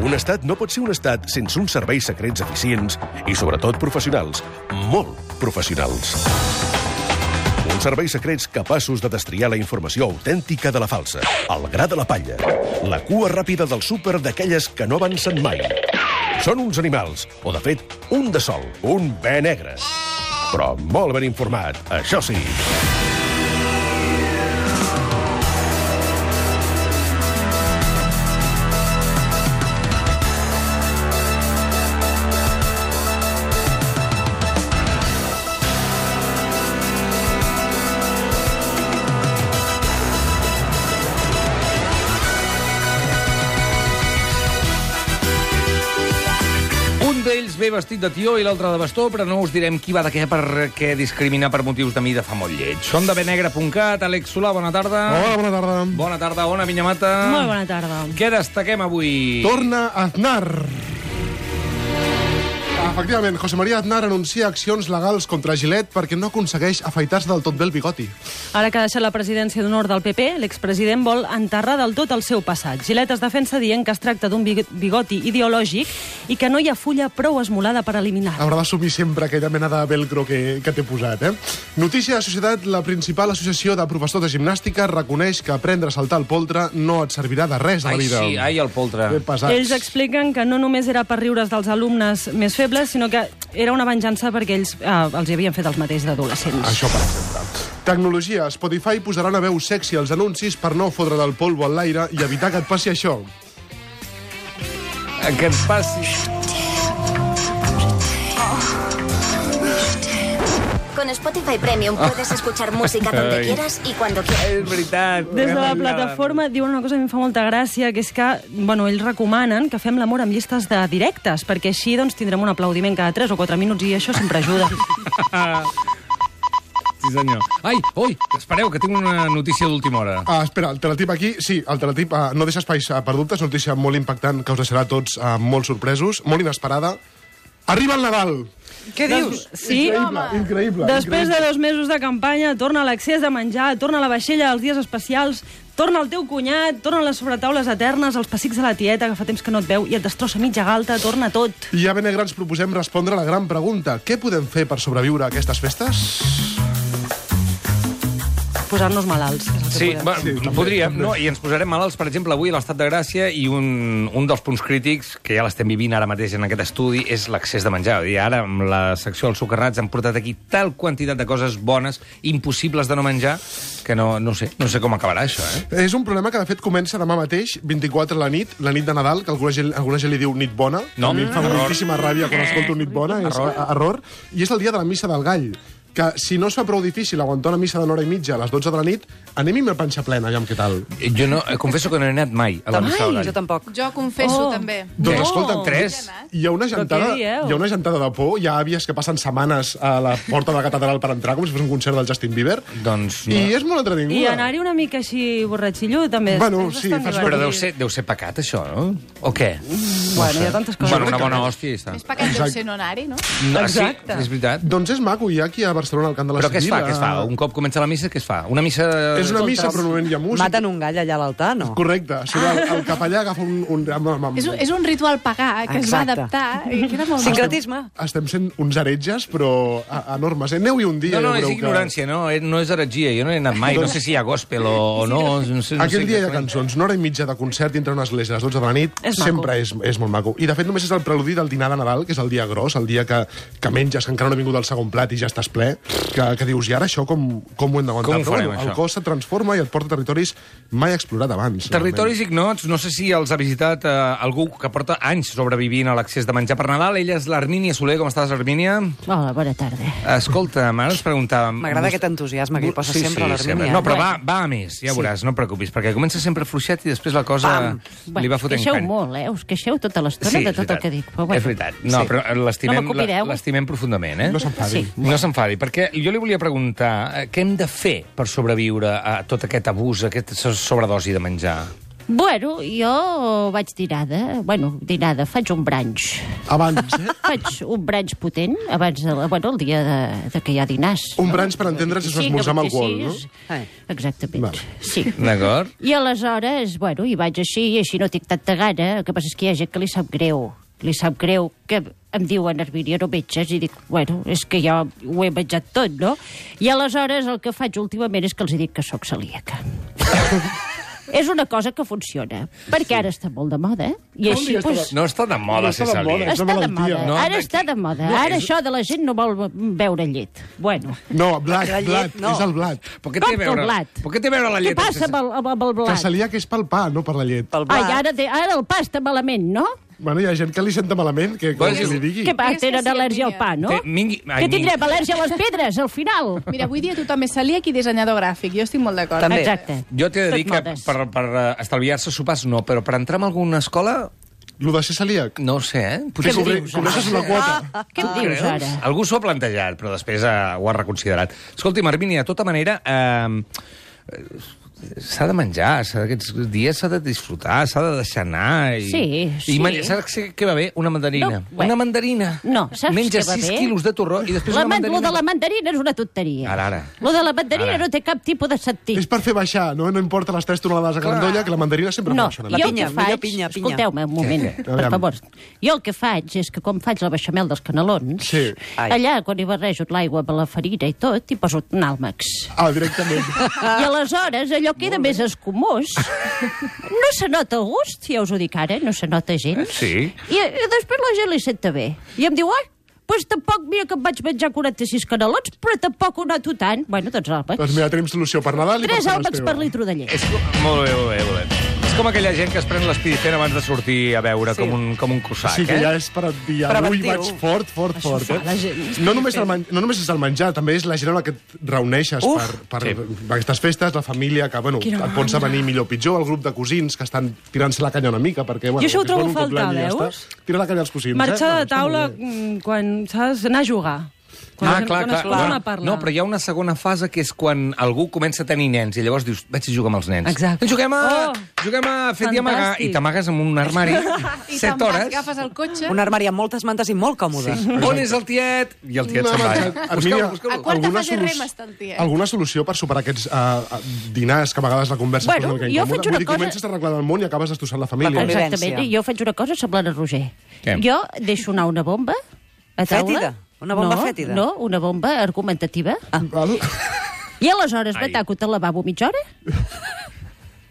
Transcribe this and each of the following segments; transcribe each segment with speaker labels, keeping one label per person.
Speaker 1: Un estat no pot ser un estat sense uns serveis secrets eficients i, sobretot, professionals. Molt professionals. Uns serveis secrets capaços de destriar la informació autèntica de la falsa, el gra de la palla, la cua ràpida del súper d'aquelles que no avancen mai. Són uns animals, o de fet, un de sol, un bé negre. Però molt ben informat, això sí.
Speaker 2: Un d'ells ve vestit de tió i l'altre de bastó, però no us direm qui va de què perquè discriminar per motius de mida fa molt lleig. Som de benegre.cat, Àlex Solà, bona tarda.
Speaker 3: Hola, bona tarda.
Speaker 2: Bona tarda, Ona Vinyamata.
Speaker 4: Molt bona tarda.
Speaker 2: Què destaquem avui?
Speaker 3: Torna Aznar. Efectivament, José María Aznar anuncia accions legals contra Gilet perquè no aconsegueix afaitar-se del tot bé el bigoti.
Speaker 4: Ara que ha deixat la presidència d'honor del PP, l'expresident vol enterrar del tot el seu passat. Gilet es defensa dient que es tracta d'un big- bigoti ideològic i que no hi ha fulla prou esmolada per eliminar.
Speaker 3: Haurà d'assumir sempre aquella mena de velcro que, que té posat, eh? Notícia de Societat, la principal associació de professors de gimnàstica, reconeix que aprendre a saltar el poltre no et servirà de res a la
Speaker 2: Ai,
Speaker 3: vida.
Speaker 2: sí, ai, el poltre.
Speaker 3: Ben pesats.
Speaker 4: Ells expliquen que no només era per riure's dels alumnes més febles, sinó que era una venjança perquè ells eh, els hi havien fet els mateixos d'adolescents.
Speaker 3: Això, per exemple. Tecnologia. Spotify posarà una veu sexy als anuncis per no fotre del polvo en l'aire i evitar que et passi això.
Speaker 2: Que ens passi...
Speaker 5: Con Spotify Premium puedes escuchar música donde
Speaker 2: Ay.
Speaker 5: quieras y cuando quieras.
Speaker 2: És veritat.
Speaker 4: Des de la plataforma diuen una cosa que em fa molta gràcia, que és que bueno, ells recomanen que fem l'amor amb llistes de directes, perquè així doncs, tindrem un aplaudiment cada 3 o 4 minuts i això sempre ajuda.
Speaker 2: Sí, senyor. Ai, oi, espereu, que tinc una notícia d'última hora.
Speaker 3: Ah, espera, el teletip aquí, sí, el teletip ah, no deixa espais ah, per dubtes, notícia molt impactant que us deixarà a tots ah, molt sorpresos, molt inesperada. Arriba el Nadal!
Speaker 4: Què dius? Doncs, Sí,
Speaker 3: Increïble, increïble.
Speaker 4: Després de dos mesos de campanya, torna l'accés de menjar, torna la vaixella als dies especials, torna el teu cunyat, torna les sobretaules eternes, els pessics de la tieta, que fa temps que no et veu, i et destrossa mitja galta, torna tot.
Speaker 3: I a Benegrans proposem respondre a la gran pregunta. Què podem fer per sobreviure a aquestes festes?
Speaker 4: Posar-nos malalts. és el que
Speaker 2: Sí,
Speaker 4: podem.
Speaker 2: va,
Speaker 3: Sí,
Speaker 2: sí
Speaker 3: també,
Speaker 2: podríem. No, I ens posarem malalts, per exemple, avui a l'Estat de Gràcia i un, un dels punts crítics que ja l'estem vivint ara mateix en aquest estudi és l'accés de menjar. I ara, amb la secció dels sucarrats, han portat aquí tal quantitat de coses bones, impossibles de no menjar, que no, no, sé, no sé com acabarà això, eh?
Speaker 3: És un problema que, de fet, comença demà mateix, 24 a la nit, la nit de Nadal, que alguna gent, alguna gent li diu nit bona.
Speaker 2: No,
Speaker 3: a mi em fa
Speaker 2: error.
Speaker 3: moltíssima ràbia quan escolto nit bona, és error. error. I és el dia de la missa del gall, que si no es fa prou difícil aguantar una missa d'una hora i mitja a les 12 de la nit, anem-hi amb la panxa plena, aviam què tal.
Speaker 2: Jo no, eh, confesso que no he anat mai a la missa del Gall.
Speaker 4: tampoc.
Speaker 6: Jo confesso,
Speaker 4: Oh.
Speaker 6: també.
Speaker 3: Doncs
Speaker 2: No.
Speaker 3: escolta'm,
Speaker 2: Tres.
Speaker 3: Hi ha, una
Speaker 4: Però
Speaker 3: gentada,
Speaker 4: què
Speaker 3: hi
Speaker 4: dieu?
Speaker 3: ha una gentada de por, hi ha àvies que passen setmanes a la porta de la catedral per entrar, com si fos un concert del Justin Bieber.
Speaker 2: Doncs no.
Speaker 3: I és molt entretinguda.
Speaker 4: I anar-hi una mica així borratxillo, també. és-
Speaker 3: Bueno,
Speaker 4: és
Speaker 3: sí,
Speaker 4: bastant
Speaker 3: fas-
Speaker 4: divertit.
Speaker 2: Però deu ser, deu ser pecat, això, no? O què?
Speaker 4: Bueno, hi ha tantes coses.
Speaker 2: Bueno, una bona hòstia i està.
Speaker 6: Més pecat deu ser no anar-hi, no?
Speaker 2: No,
Speaker 4: Exacte.
Speaker 2: Sí, és veritat.
Speaker 3: Doncs és maco, hi ha aquí a Barcelona, al Camp de la
Speaker 2: Però què es fa,
Speaker 3: Civil,
Speaker 2: què es fa? Un cop comença la missa, què es fa? Una missa...
Speaker 3: És una missa, però no hi ha música.
Speaker 7: Maten un gall allà a l'altar, no?
Speaker 3: Correcte. Sí, el, el capellà agafa un... un, amb, amb, amb...
Speaker 6: És un, és un ritual pagà eh, que es va
Speaker 7: Exacte.
Speaker 6: adaptar i queda molt maco.
Speaker 7: Sincretisme.
Speaker 3: Estem sent uns heretges, però a- enormes. Eh? Aneu-hi un dia.
Speaker 2: No, no,
Speaker 3: ja
Speaker 2: és
Speaker 3: veureu
Speaker 2: ignorància, no, eh, no és heretgia, jo no he anat mai, no sé si hi ha gospel o, o no, no sé,
Speaker 3: Que...
Speaker 2: no
Speaker 3: Aquell
Speaker 2: sé
Speaker 3: dia
Speaker 2: què
Speaker 3: hi ha
Speaker 2: fan.
Speaker 3: cançons, una hora i mitja de concert dintre una església a les 12 de la nit,
Speaker 4: És maco.
Speaker 3: sempre és, és molt maco. I de fet només és el preludi del dinar de Nadal, que és el dia gros, el dia que, que menges, que encara no ha vingut el segon plat i ja estàs ple, que, que dius, i ara això com, com ho hem d'aguantar?
Speaker 2: Com ho
Speaker 3: Però
Speaker 2: farem,
Speaker 3: bueno,
Speaker 2: això?
Speaker 3: el cos se transforma i et porta a territoris mai explorat abans.
Speaker 2: Territoris ignots, no sé si els ha visitat eh, algú que porta anys sobrevivint a l'accés de menjar per Nadal. Ella és l'Armínia Soler. Com estàs, Armínia?
Speaker 4: Hola, bona tarda.
Speaker 2: Escolta, ara ens preguntàvem...
Speaker 7: M'agrada aquest entusiasme que hi posa
Speaker 2: sí,
Speaker 7: sempre
Speaker 2: sí, sempre.
Speaker 7: l'Armínia.
Speaker 2: No, però va, va a més, ja veuràs, no et preocupis, perquè comença sempre fluixet i després la cosa
Speaker 7: Pam.
Speaker 2: li va fotent
Speaker 8: queixeu
Speaker 2: canya.
Speaker 8: molt, eh? Us queixeu tota l'estona
Speaker 2: Sí,
Speaker 8: de
Speaker 2: és
Speaker 8: tot el
Speaker 2: veritat.
Speaker 8: que dic. Però,
Speaker 2: És veritat. No, però l'estimem
Speaker 8: No m'ocupireu.
Speaker 2: la- l'estimem profundament, eh?
Speaker 3: No s'enfadi.
Speaker 8: Sí.
Speaker 2: No s'enfadi, perquè jo li volia preguntar eh, què hem de fer per sobreviure a tot aquest abús, a aquesta sobredosi de menjar.
Speaker 4: Bueno, jo vaig dinada, bueno, dinada, faig un branx.
Speaker 3: Abans, eh?
Speaker 4: Faig un branx potent abans, de, la- bueno, el dia de, de que hi ha dinars.
Speaker 3: Un branx, per entendre's, és esmorzar amb alcohol, no?
Speaker 4: no? Exactament,
Speaker 3: Vale.
Speaker 4: sí.
Speaker 2: D'acord?
Speaker 4: I aleshores, bueno, hi vaig així, i així no tinc tanta gana. El que passa és que hi ha gent que li sap greu. Li sap greu que em diuen Hermínia, no metges, i dic, bueno, és que ja ho he menjat tot, no? I aleshores el que faig últimament és que els dic que sóc celíaca. és una cosa que funciona, perquè ara està molt de moda, eh? i
Speaker 3: Com
Speaker 4: així,
Speaker 3: digues que
Speaker 4: doncs,
Speaker 2: No està de moda
Speaker 3: No
Speaker 2: ser
Speaker 3: està de moda.
Speaker 2: celíac.
Speaker 3: és una
Speaker 4: està de
Speaker 3: malaltia.
Speaker 4: moda.
Speaker 2: No,
Speaker 4: ara
Speaker 2: aquí-
Speaker 4: està de moda.
Speaker 2: no,
Speaker 4: ara
Speaker 2: és-
Speaker 4: això de la gent no vol beure llet. Bueno,
Speaker 3: No, blat,
Speaker 7: La llet,
Speaker 3: blat,
Speaker 7: no.
Speaker 3: és el blat.
Speaker 2: Però què
Speaker 4: Com
Speaker 2: té a
Speaker 4: que el
Speaker 2: veure,
Speaker 4: blat?
Speaker 2: però què té a veure la
Speaker 4: què
Speaker 2: llet?
Speaker 4: passa amb el, amb el
Speaker 3: Que
Speaker 4: blat?
Speaker 3: celíac és pel pa, no per la llet.
Speaker 7: Pel
Speaker 4: Ai,
Speaker 7: blat.
Speaker 4: ara, té- ara el pa està malament, no?
Speaker 3: Bueno, hi ha gent que li senta malament, que, que,
Speaker 2: Bueno,
Speaker 3: que
Speaker 2: sí.
Speaker 3: li digui.
Speaker 4: Què passa?
Speaker 6: Digues que
Speaker 4: Tenen
Speaker 6: sí,
Speaker 4: al·lèrgia al
Speaker 6: amiga.
Speaker 4: pa, no?
Speaker 2: Té- mingui- ai,
Speaker 4: Que
Speaker 2: mingui.
Speaker 4: tindrem al·lèrgia a les pedres, al final.
Speaker 6: Mira, avui dia tothom és celíac i dissenyador gràfic. Jo estic molt d'acord.
Speaker 7: També.
Speaker 4: Exacte.
Speaker 2: Jo t'he de
Speaker 4: Tot
Speaker 2: dir que
Speaker 4: modes.
Speaker 2: per, per eh, estalviar-se sopars no, però per entrar en alguna escola,
Speaker 3: Lo de ser celíac.
Speaker 2: no ho sé, eh?
Speaker 3: Que
Speaker 2: Potser
Speaker 3: cobre-
Speaker 2: dius, Ah.
Speaker 3: cobreixes una quota. Ah.
Speaker 4: Què em dius
Speaker 2: Creus?
Speaker 4: ara?
Speaker 2: Algú s'ho ha plantejat, però després eh, ho ha reconsiderat. Escolti, Marmínia, de tota manera... Eh, eh, s'ha de menjar, s'ha- aquests dies s'ha de disfrutar, s'ha de deixar anar. I,
Speaker 4: Sí,
Speaker 2: I
Speaker 4: sí.
Speaker 2: menjar, saps què- què va bé? Una mandarina.
Speaker 4: No, bé.
Speaker 2: Una mandarina.
Speaker 4: No, saps
Speaker 2: Menja
Speaker 4: què va
Speaker 2: 6
Speaker 4: bé?
Speaker 2: quilos de torró i després
Speaker 4: La
Speaker 2: una
Speaker 4: man, lo
Speaker 2: mandarina.
Speaker 4: de la mandarina és una tonteria.
Speaker 2: Ara, ara.
Speaker 4: Lo de la mandarina
Speaker 2: Ara.
Speaker 4: no té cap tipus de
Speaker 3: És
Speaker 4: sentit.
Speaker 3: per fer baixar, no? No importa les 3 tonelades de grandolla, que la mandarina sempre
Speaker 4: No,
Speaker 3: funciona.
Speaker 4: jo
Speaker 7: La
Speaker 4: el
Speaker 7: pinya,
Speaker 4: que
Speaker 7: millor
Speaker 4: faig...
Speaker 7: pinya, pinya.
Speaker 4: Escolteu-me un moment,
Speaker 2: Què?
Speaker 4: per
Speaker 3: Aviam.
Speaker 4: favor. Jo el que faig és que quan faig la beixamel dels canelons,
Speaker 3: Sí.
Speaker 7: Ai.
Speaker 4: allà quan hi barrejo l'aigua amb la farina i tot, hi poso un àlmax.
Speaker 3: Ah, directament.
Speaker 2: Ah.
Speaker 4: I aleshores allò queda més escumós. No se nota el gust, ja us ho dic ara, no se nota gens.
Speaker 2: Eh, Sí.
Speaker 4: I, i després la gent li senta bé. I em diu, ai, doncs tampoc, mira que em vaig menjar 46 canelons, però tampoc ho noto tant. Bueno, doncs
Speaker 3: doncs
Speaker 4: àlbacs.
Speaker 3: mira, tenim solució per Nadal i per
Speaker 4: Tres
Speaker 3: Sant
Speaker 4: àlbacs per
Speaker 3: Esteve.
Speaker 4: litro de llet.
Speaker 2: És com... Molt bé, molt bé, molt bé. És com aquella gent que es pren l'espirifent abans de sortir a veure, sí. com, un, com un cossac,
Speaker 3: Sí, que
Speaker 2: eh?
Speaker 3: ja és per dir, avui
Speaker 7: Preventiu.
Speaker 3: vaig fort, fort,
Speaker 7: Això
Speaker 3: fort.
Speaker 7: fa la
Speaker 3: Eh?
Speaker 7: gent.
Speaker 3: No, només el men- no només és el menjar, també és la gent amb la que et reuneixes
Speaker 7: Uf.
Speaker 3: per, per
Speaker 2: Sí.
Speaker 3: aquestes festes, la família, que bueno, et pots venir millor o pitjor, el grup de cosins que estan tirant-se la canya una mica, perquè... Bueno,
Speaker 9: Jo això ho
Speaker 3: que es
Speaker 9: trobo
Speaker 3: veuen un cop
Speaker 9: faltar,
Speaker 3: l'any i ja
Speaker 9: veus?
Speaker 3: està. Tira la canya als cosins,
Speaker 9: Marxar
Speaker 3: eh?
Speaker 9: de taula mm, quan saps anar a jugar. Quan,
Speaker 2: Ah, clar,
Speaker 9: quan
Speaker 2: clar.
Speaker 9: es posen a parlar.
Speaker 2: No, però hi ha una segona fase que és quan algú comença a tenir nens i llavors dius, vaig a jugar amb els nens.
Speaker 9: Exacte.
Speaker 2: Juguem a,
Speaker 9: Oh,
Speaker 2: oh, juguem a fet i
Speaker 9: fantàstic.
Speaker 2: amagar i t'amagues en un armari
Speaker 6: I te'n
Speaker 2: set
Speaker 6: vas,
Speaker 2: hores.
Speaker 6: agafes el cotxe...
Speaker 7: Un armari amb moltes mantes i molt còmode. Sí.
Speaker 2: On és el tiet? I el tiet
Speaker 3: No,
Speaker 2: se'n va.
Speaker 3: no,
Speaker 2: eh?
Speaker 3: no,
Speaker 2: Busqueu-lo,
Speaker 3: Armínia,
Speaker 6: A
Speaker 2: busqueu-lo.
Speaker 6: quarta
Speaker 3: alguna
Speaker 6: fase
Speaker 3: solu-
Speaker 6: rem està el tiet.
Speaker 3: Alguna solució per superar aquests uh, dinars que a vegades la conversa
Speaker 4: Bueno,
Speaker 3: es posa una mica
Speaker 4: jo
Speaker 3: incòmoda?
Speaker 4: faig una
Speaker 3: Vull dir,
Speaker 4: cosa-
Speaker 3: comences a arreglar el món i acabes destrossant la família.
Speaker 7: convivència.
Speaker 4: Exactament, i jo faig una cosa semblant a Roger.
Speaker 2: Què?
Speaker 4: Jo deixo anar una bomba a taula.
Speaker 7: Fètida? Una bomba
Speaker 4: no,
Speaker 7: fètida? Ah.
Speaker 4: No, una bomba argumentativa.
Speaker 3: Val?
Speaker 4: I aleshores
Speaker 2: Ai.
Speaker 4: me taco al lavabo mitja hora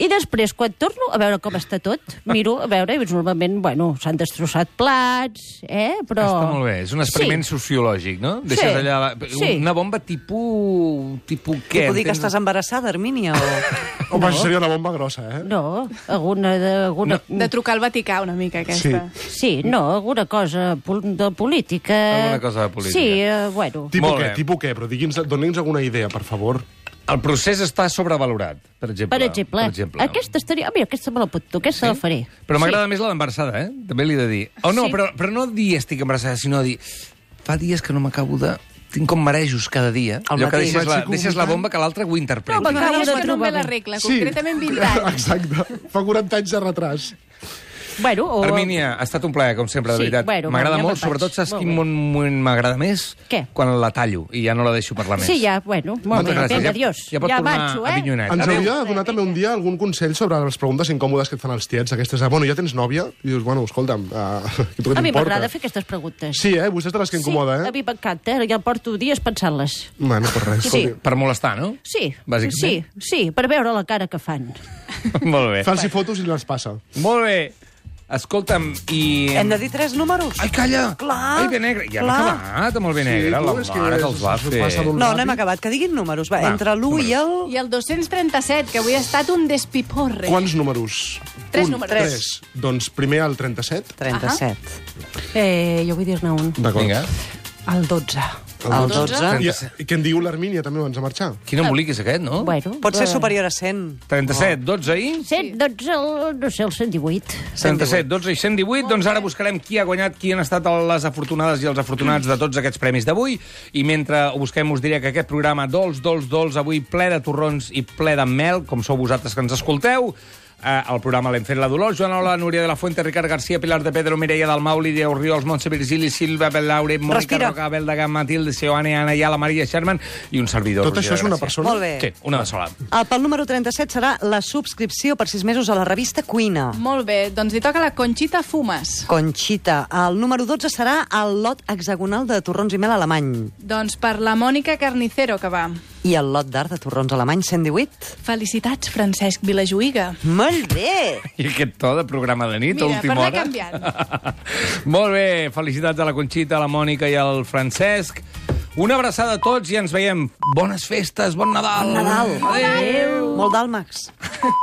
Speaker 4: i després, quan torno, a veure com està tot, miro, a veure, i normalment, bueno, s'han destrossat plats, eh, però...
Speaker 2: Està molt bé, és un experiment
Speaker 4: Sí.
Speaker 2: sociològic, no? Deixes
Speaker 4: Sí.
Speaker 2: allà la...
Speaker 4: Sí.
Speaker 2: una bomba tipus... tipus
Speaker 7: Què,
Speaker 2: què?
Speaker 7: puc dir que
Speaker 2: Entens?
Speaker 7: estàs embarassada, Hermínia? O...
Speaker 3: Home, això seria una bomba grossa, eh?
Speaker 4: No, alguna... De, alguna... No.
Speaker 6: De trucar al Vaticà una mica, aquesta.
Speaker 3: Sí.
Speaker 4: Sí, no, alguna cosa pol- de política...
Speaker 2: Alguna cosa de política.
Speaker 4: Sí, eh, bueno...
Speaker 3: Tipo
Speaker 2: Molt
Speaker 3: què,
Speaker 2: bé.
Speaker 3: tipo què? Però digui'ns, doni'ns alguna idea, per favor.
Speaker 2: El procés està sobrevalorat, per exemple.
Speaker 4: Per exemple, per exemple, aquesta estaria... Ah, mira, aquesta me la puc tu, aquesta sí? la faré.
Speaker 2: Però m'agrada sí. més la d'embarassada, eh? També li he de dir. O no,
Speaker 4: Sí.
Speaker 2: sí. però, però no dir estic embarassada, sinó dir fa dies que no m'acabo de... Tinc com marejos cada dia.
Speaker 7: Al
Speaker 2: Allò que
Speaker 7: matí.
Speaker 2: deixes la,
Speaker 3: Vaig
Speaker 2: deixes la bomba que l'altre ho
Speaker 4: No,
Speaker 2: interpreti.
Speaker 4: m'agrada. Acabo
Speaker 6: Dies
Speaker 4: de
Speaker 6: que no em
Speaker 4: trobar
Speaker 6: ve la
Speaker 4: bé.
Speaker 6: regla, concretament 20 anys.
Speaker 3: Exacte. Fa 40 anys de retras.
Speaker 4: Bueno, o...
Speaker 2: Armínia, ha estat un plaer, com sempre, de
Speaker 4: Sí,
Speaker 2: veritat.
Speaker 4: bueno,
Speaker 2: m'agrada
Speaker 4: bueno,
Speaker 2: molt,
Speaker 4: ja me'n vaig.
Speaker 2: sobretot saps
Speaker 4: Molt
Speaker 2: quin
Speaker 4: bé.
Speaker 2: moment m'agrada més?
Speaker 4: Què?
Speaker 2: Quan la tallo i ja no la deixo parlar més.
Speaker 4: Sí, ja, bueno, molt
Speaker 2: Moltes
Speaker 4: bé.
Speaker 2: gràcies.
Speaker 4: Vinga,
Speaker 2: Ja-
Speaker 4: adiós.
Speaker 2: ja pot tornar
Speaker 4: avanço,
Speaker 2: a
Speaker 4: eh?
Speaker 2: Vinyonets.
Speaker 3: Ens
Speaker 2: Adéu.
Speaker 3: hauria de donar també un dia algun consell sobre les preguntes incòmodes que et fan els tiets, aquestes de, bueno, ja tens nòvia? I dius, bueno, escolta'm, uh, que tu què
Speaker 4: A mi
Speaker 3: t'importa?
Speaker 4: m'agrada fer aquestes preguntes.
Speaker 3: Sí, eh? Vostè és de les que incomoda,
Speaker 4: Sí, a
Speaker 3: eh?
Speaker 4: mi m'encanta, eh? ja porto dies pensant-les.
Speaker 3: Bueno, per res.
Speaker 4: Sí.
Speaker 3: escolti.
Speaker 2: Per molestar, no?
Speaker 4: Sí, sí,
Speaker 2: Bàsicament.
Speaker 4: sí, per veure la cara que fan.
Speaker 2: molt bé.
Speaker 3: Faci fotos i les passa.
Speaker 2: Molt bé. Escolta'm, i...
Speaker 7: Hem de dir tres números?
Speaker 2: Ai, calla! Ai,
Speaker 7: Clar,
Speaker 2: bé negre. Ja hem
Speaker 7: clar.
Speaker 2: acabat amb el bé negre.
Speaker 3: tu,
Speaker 2: la
Speaker 3: és que
Speaker 2: mare que els va
Speaker 3: s'ho
Speaker 2: fer.
Speaker 3: passa d'un
Speaker 7: No,
Speaker 3: ràpid.
Speaker 7: no hem acabat. Que diguin números. Va,
Speaker 2: Va,
Speaker 7: entre l'1 i el...
Speaker 6: I el 237, que avui ha estat un despiporre.
Speaker 3: Quants números?
Speaker 6: Tres
Speaker 3: un,
Speaker 6: números.
Speaker 3: Tres. Doncs primer el 37.
Speaker 7: 37.
Speaker 9: Eh, jo vull dir-ne un.
Speaker 3: D'acord.
Speaker 2: Vinga.
Speaker 9: El 12.
Speaker 7: El 12.
Speaker 3: I, I què en diu l'Armínia, també, abans de marxar?
Speaker 2: Quin embolic és aquest, no?
Speaker 4: Bueno, eh,
Speaker 7: Pot ser superior a 100.
Speaker 2: 37, 12 i...
Speaker 4: 100, doncs, el, no sé, el 118.
Speaker 2: 37, 12 i 118. Doncs ara buscarem qui ha guanyat, qui han estat les afortunades i els afortunats de tots aquests premis d'avui. I mentre ho busquem us diré que aquest programa dolç, dolç, dolç, avui ple de torrons i ple de mel, com sou vosaltres que ens escolteu, Eh, el programa l'hem fet la Dolors, Joan Ola, Núria de la Fuente, Ricard Garcia, Pilar de Pedro, Mireia Dalmau, Lídia Orriols, Montse Virgili, Silva Belaure, Mònica
Speaker 7: Respira.
Speaker 2: Roca, Abel de Gama, Matilde, Seoane, Anna Iala, Maria Sherman i un servidor.
Speaker 3: Tot
Speaker 2: Roger
Speaker 3: això és una
Speaker 2: Gràcia.
Speaker 3: persona?
Speaker 7: Molt bé.
Speaker 2: Sí, una de sola.
Speaker 7: El Ah, pel número 37 serà la subscripció per 6 mesos a la revista Cuina.
Speaker 6: Molt bé, doncs li toca la Conxita Fumes.
Speaker 7: Conxita. El número 12 serà el lot hexagonal de torrons i mel alemany.
Speaker 6: Doncs per la Mònica Carnicero, que va.
Speaker 7: I el lot d'art de torrons alemany 118.
Speaker 6: Felicitats, Francesc Vilajuïga.
Speaker 7: Molt bé!
Speaker 2: I aquest to de programa de nit,
Speaker 6: Mira,
Speaker 2: a última
Speaker 6: per anar
Speaker 2: hora.
Speaker 6: canviant.
Speaker 2: Molt bé, felicitats a la Conxita, a la Mònica i al Francesc. Una abraçada a tots i ens veiem. Bones festes, bon Nadal. Bon Nadal. Adéu.
Speaker 7: Molt d'àlmacs.